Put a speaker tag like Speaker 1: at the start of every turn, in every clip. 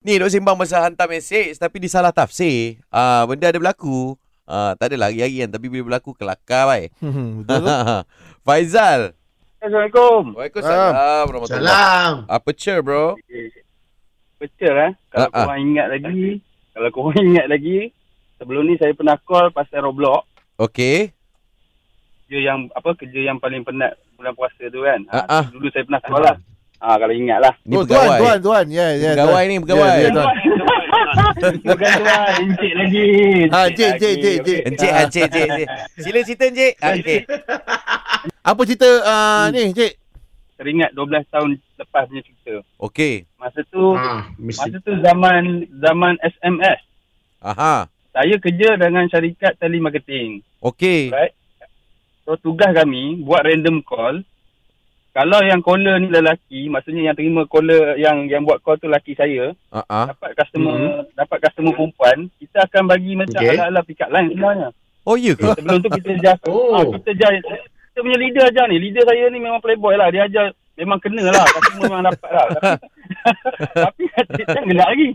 Speaker 1: Ni duk sembang pasal hantar mesej tapi dia salah tafsir. Ah benda ada berlaku. Ah tak adalah hari-hari kan tapi bila berlaku kelakar baik.
Speaker 2: Betul tu.
Speaker 1: Faizal.
Speaker 3: Assalamualaikum.
Speaker 1: Waalaikumsalam warahmatullahi.
Speaker 4: Salam.
Speaker 1: Apa cer bro?
Speaker 3: Betul eh. Kalau
Speaker 1: Ah, ah.
Speaker 3: korang ingat lagi, kalau korang ingat lagi, sebelum ni saya pernah call pasal Roblox.
Speaker 1: Okey.
Speaker 3: Kerja yang apa kerja yang paling penat bulan puasa tu kan.
Speaker 1: Ah,
Speaker 3: Ah,
Speaker 1: ah.
Speaker 3: Dulu saya pernah call lah. Ah kalau ingat lah.
Speaker 1: Ni
Speaker 2: Oh, tuan,
Speaker 1: pegawai.
Speaker 2: tuan, tuan. Ya, ya.
Speaker 1: Pegawai ni,
Speaker 2: Ya,
Speaker 1: pegawai.
Speaker 2: ya, tuan.
Speaker 3: Bukan tu lah, encik lagi.
Speaker 2: Ah, encik, encik, encik,
Speaker 3: lagi.
Speaker 2: encik.
Speaker 1: Encik, ah, encik, encik, encik. Sila cerita encik. Ah, Okey.
Speaker 2: Apa cerita uh,
Speaker 1: Hmm.
Speaker 2: ni, cik?
Speaker 3: Teringat 12 tahun lepas punya cerita.
Speaker 1: Okey.
Speaker 3: Masa tu,
Speaker 4: Ah, mesti.
Speaker 3: masa tu zaman zaman SMS.
Speaker 1: Aha.
Speaker 3: Saya kerja dengan syarikat telemarketing.
Speaker 1: Okey.
Speaker 3: Right? So tugas kami buat random call. Kalau yang caller ni lelaki, maksudnya yang terima caller yang yang buat call tu lelaki saya,
Speaker 1: Ah ah.
Speaker 3: dapat customer mm-hmm. dapat customer perempuan, kita akan bagi macam
Speaker 4: Okay.
Speaker 3: okay. ala-ala pick up line sebenarnya.
Speaker 1: Oh ya ke?
Speaker 3: Sebelum tu kita ajar
Speaker 4: Oh.
Speaker 3: oh. kita ajar kita punya leader ajar ni. Leader saya ni memang playboy lah. Dia ajar memang kena lah. Tapi memang dapat lah. Tapi, tapi tak gelak lagi.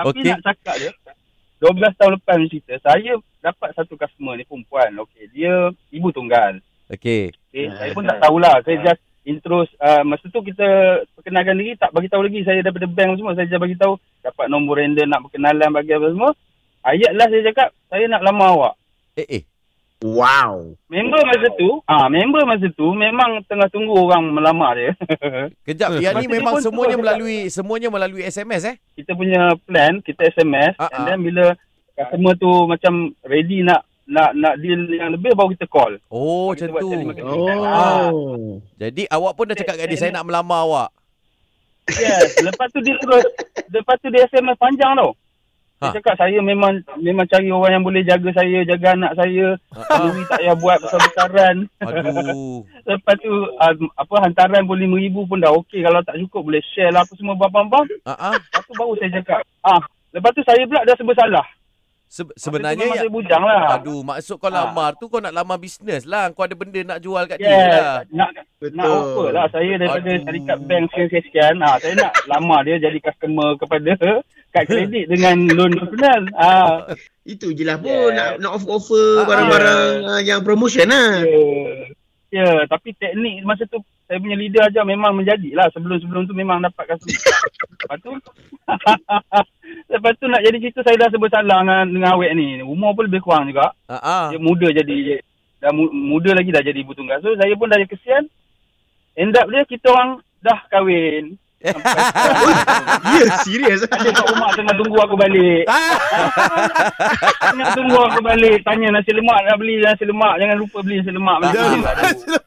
Speaker 3: Tapi
Speaker 1: Okey.
Speaker 3: okay. nak cakap dia. 12 tahun lepas ni cerita, saya dapat satu customer ni perempuan. Okey, dia ibu tunggal.
Speaker 1: Okey.
Speaker 3: Okay, Eh, saya pun
Speaker 1: kan.
Speaker 3: tak tahulah. Saya
Speaker 1: Ah.
Speaker 3: just intro uh, masa tu kita perkenalkan diri tak bagi tahu lagi saya daripada bank semua saya just bagi tahu dapat nombor random nak berkenalan bagi apa semua ayat lah saya cakap saya nak lamar awak
Speaker 1: Eh eh.
Speaker 4: Wow.
Speaker 3: Member masa tu, ah ha, member masa tu memang tengah tunggu orang melamar dia.
Speaker 2: Eh,
Speaker 1: Kejap, yang ni
Speaker 3: Masa dia
Speaker 1: memang
Speaker 3: pun
Speaker 1: semuanya
Speaker 3: terus
Speaker 1: melalui semuanya melalui SMS eh?
Speaker 3: kita punya plan, kita SMS
Speaker 1: Ah,
Speaker 3: uh-huh. and
Speaker 1: ah.
Speaker 3: then bila customer tu macam ready nak nak nak deal yang lebih baru kita call.
Speaker 1: Oh,
Speaker 3: Kita
Speaker 1: macam
Speaker 3: buat
Speaker 1: tu.
Speaker 3: telemarketing.
Speaker 4: Oh.
Speaker 1: Jadi awak pun dah cakap kat dia saya nak melamar awak.
Speaker 3: Yes, lepas tu dia terus lepas tu dia SMS panjang tau. Dia
Speaker 1: Ha.
Speaker 3: cakap saya memang memang cari orang yang boleh jaga saya, jaga anak saya.
Speaker 1: Ah,
Speaker 3: Ni tak payah buat besar-besaran.
Speaker 1: ah. Aduh.
Speaker 3: Lepas tu ah, apa hantaran boleh RM5,000 pun dah okey. Kalau tak cukup boleh share lah apa semua bambang-bambang.
Speaker 1: Ah ah.
Speaker 3: Lepas tu baru saya cakap. Ah, lepas tu saya pula dah serba salah.
Speaker 1: Se-
Speaker 3: Masa tu
Speaker 1: sebenarnya ya,
Speaker 3: memang saya bujang lah.
Speaker 1: Aduh, maksud kau
Speaker 3: Ah.
Speaker 1: lamar tu kau nak lamar bisnes lah. Kau ada benda nak jual kat dia
Speaker 3: Yes.
Speaker 1: lah.
Speaker 3: Nak, nak offer lah. Saya daripada
Speaker 1: Aduh.
Speaker 3: syarikat bank sekian-sekian. Ha, saya nak lama dia jadi customer kepada kad kredit dengan loan personal. Ha,
Speaker 4: Itu je lah pun
Speaker 3: Yeah.
Speaker 4: nak, nak offer-offer
Speaker 1: Ah,
Speaker 4: barang-barang ah, yang promotion lah.
Speaker 3: ya. Ya, tapi teknik masa tu saya punya leader aja memang menjadi lah. Sebelum-sebelum tu memang dapat customer. Lepas tu, lepas tu nak jadi cerita saya dah serba salah dengan, dengan awet ni. Umur pun lebih kurang juga.
Speaker 1: Ah ah.
Speaker 3: Dia muda jadi dah mu- muda lagi dah jadi ibu tunggal. So saya pun dah kesian. End up dia kita orang dah kahwin.
Speaker 4: Ya, serius.
Speaker 3: Ada kat rumah tengah tunggu aku balik. tengah tunggu aku balik. Tanya nasi lemak nak beli nasi lemak. Jangan lupa beli nasi lemak. Beli.
Speaker 1: Jangan.
Speaker 3: Aduh.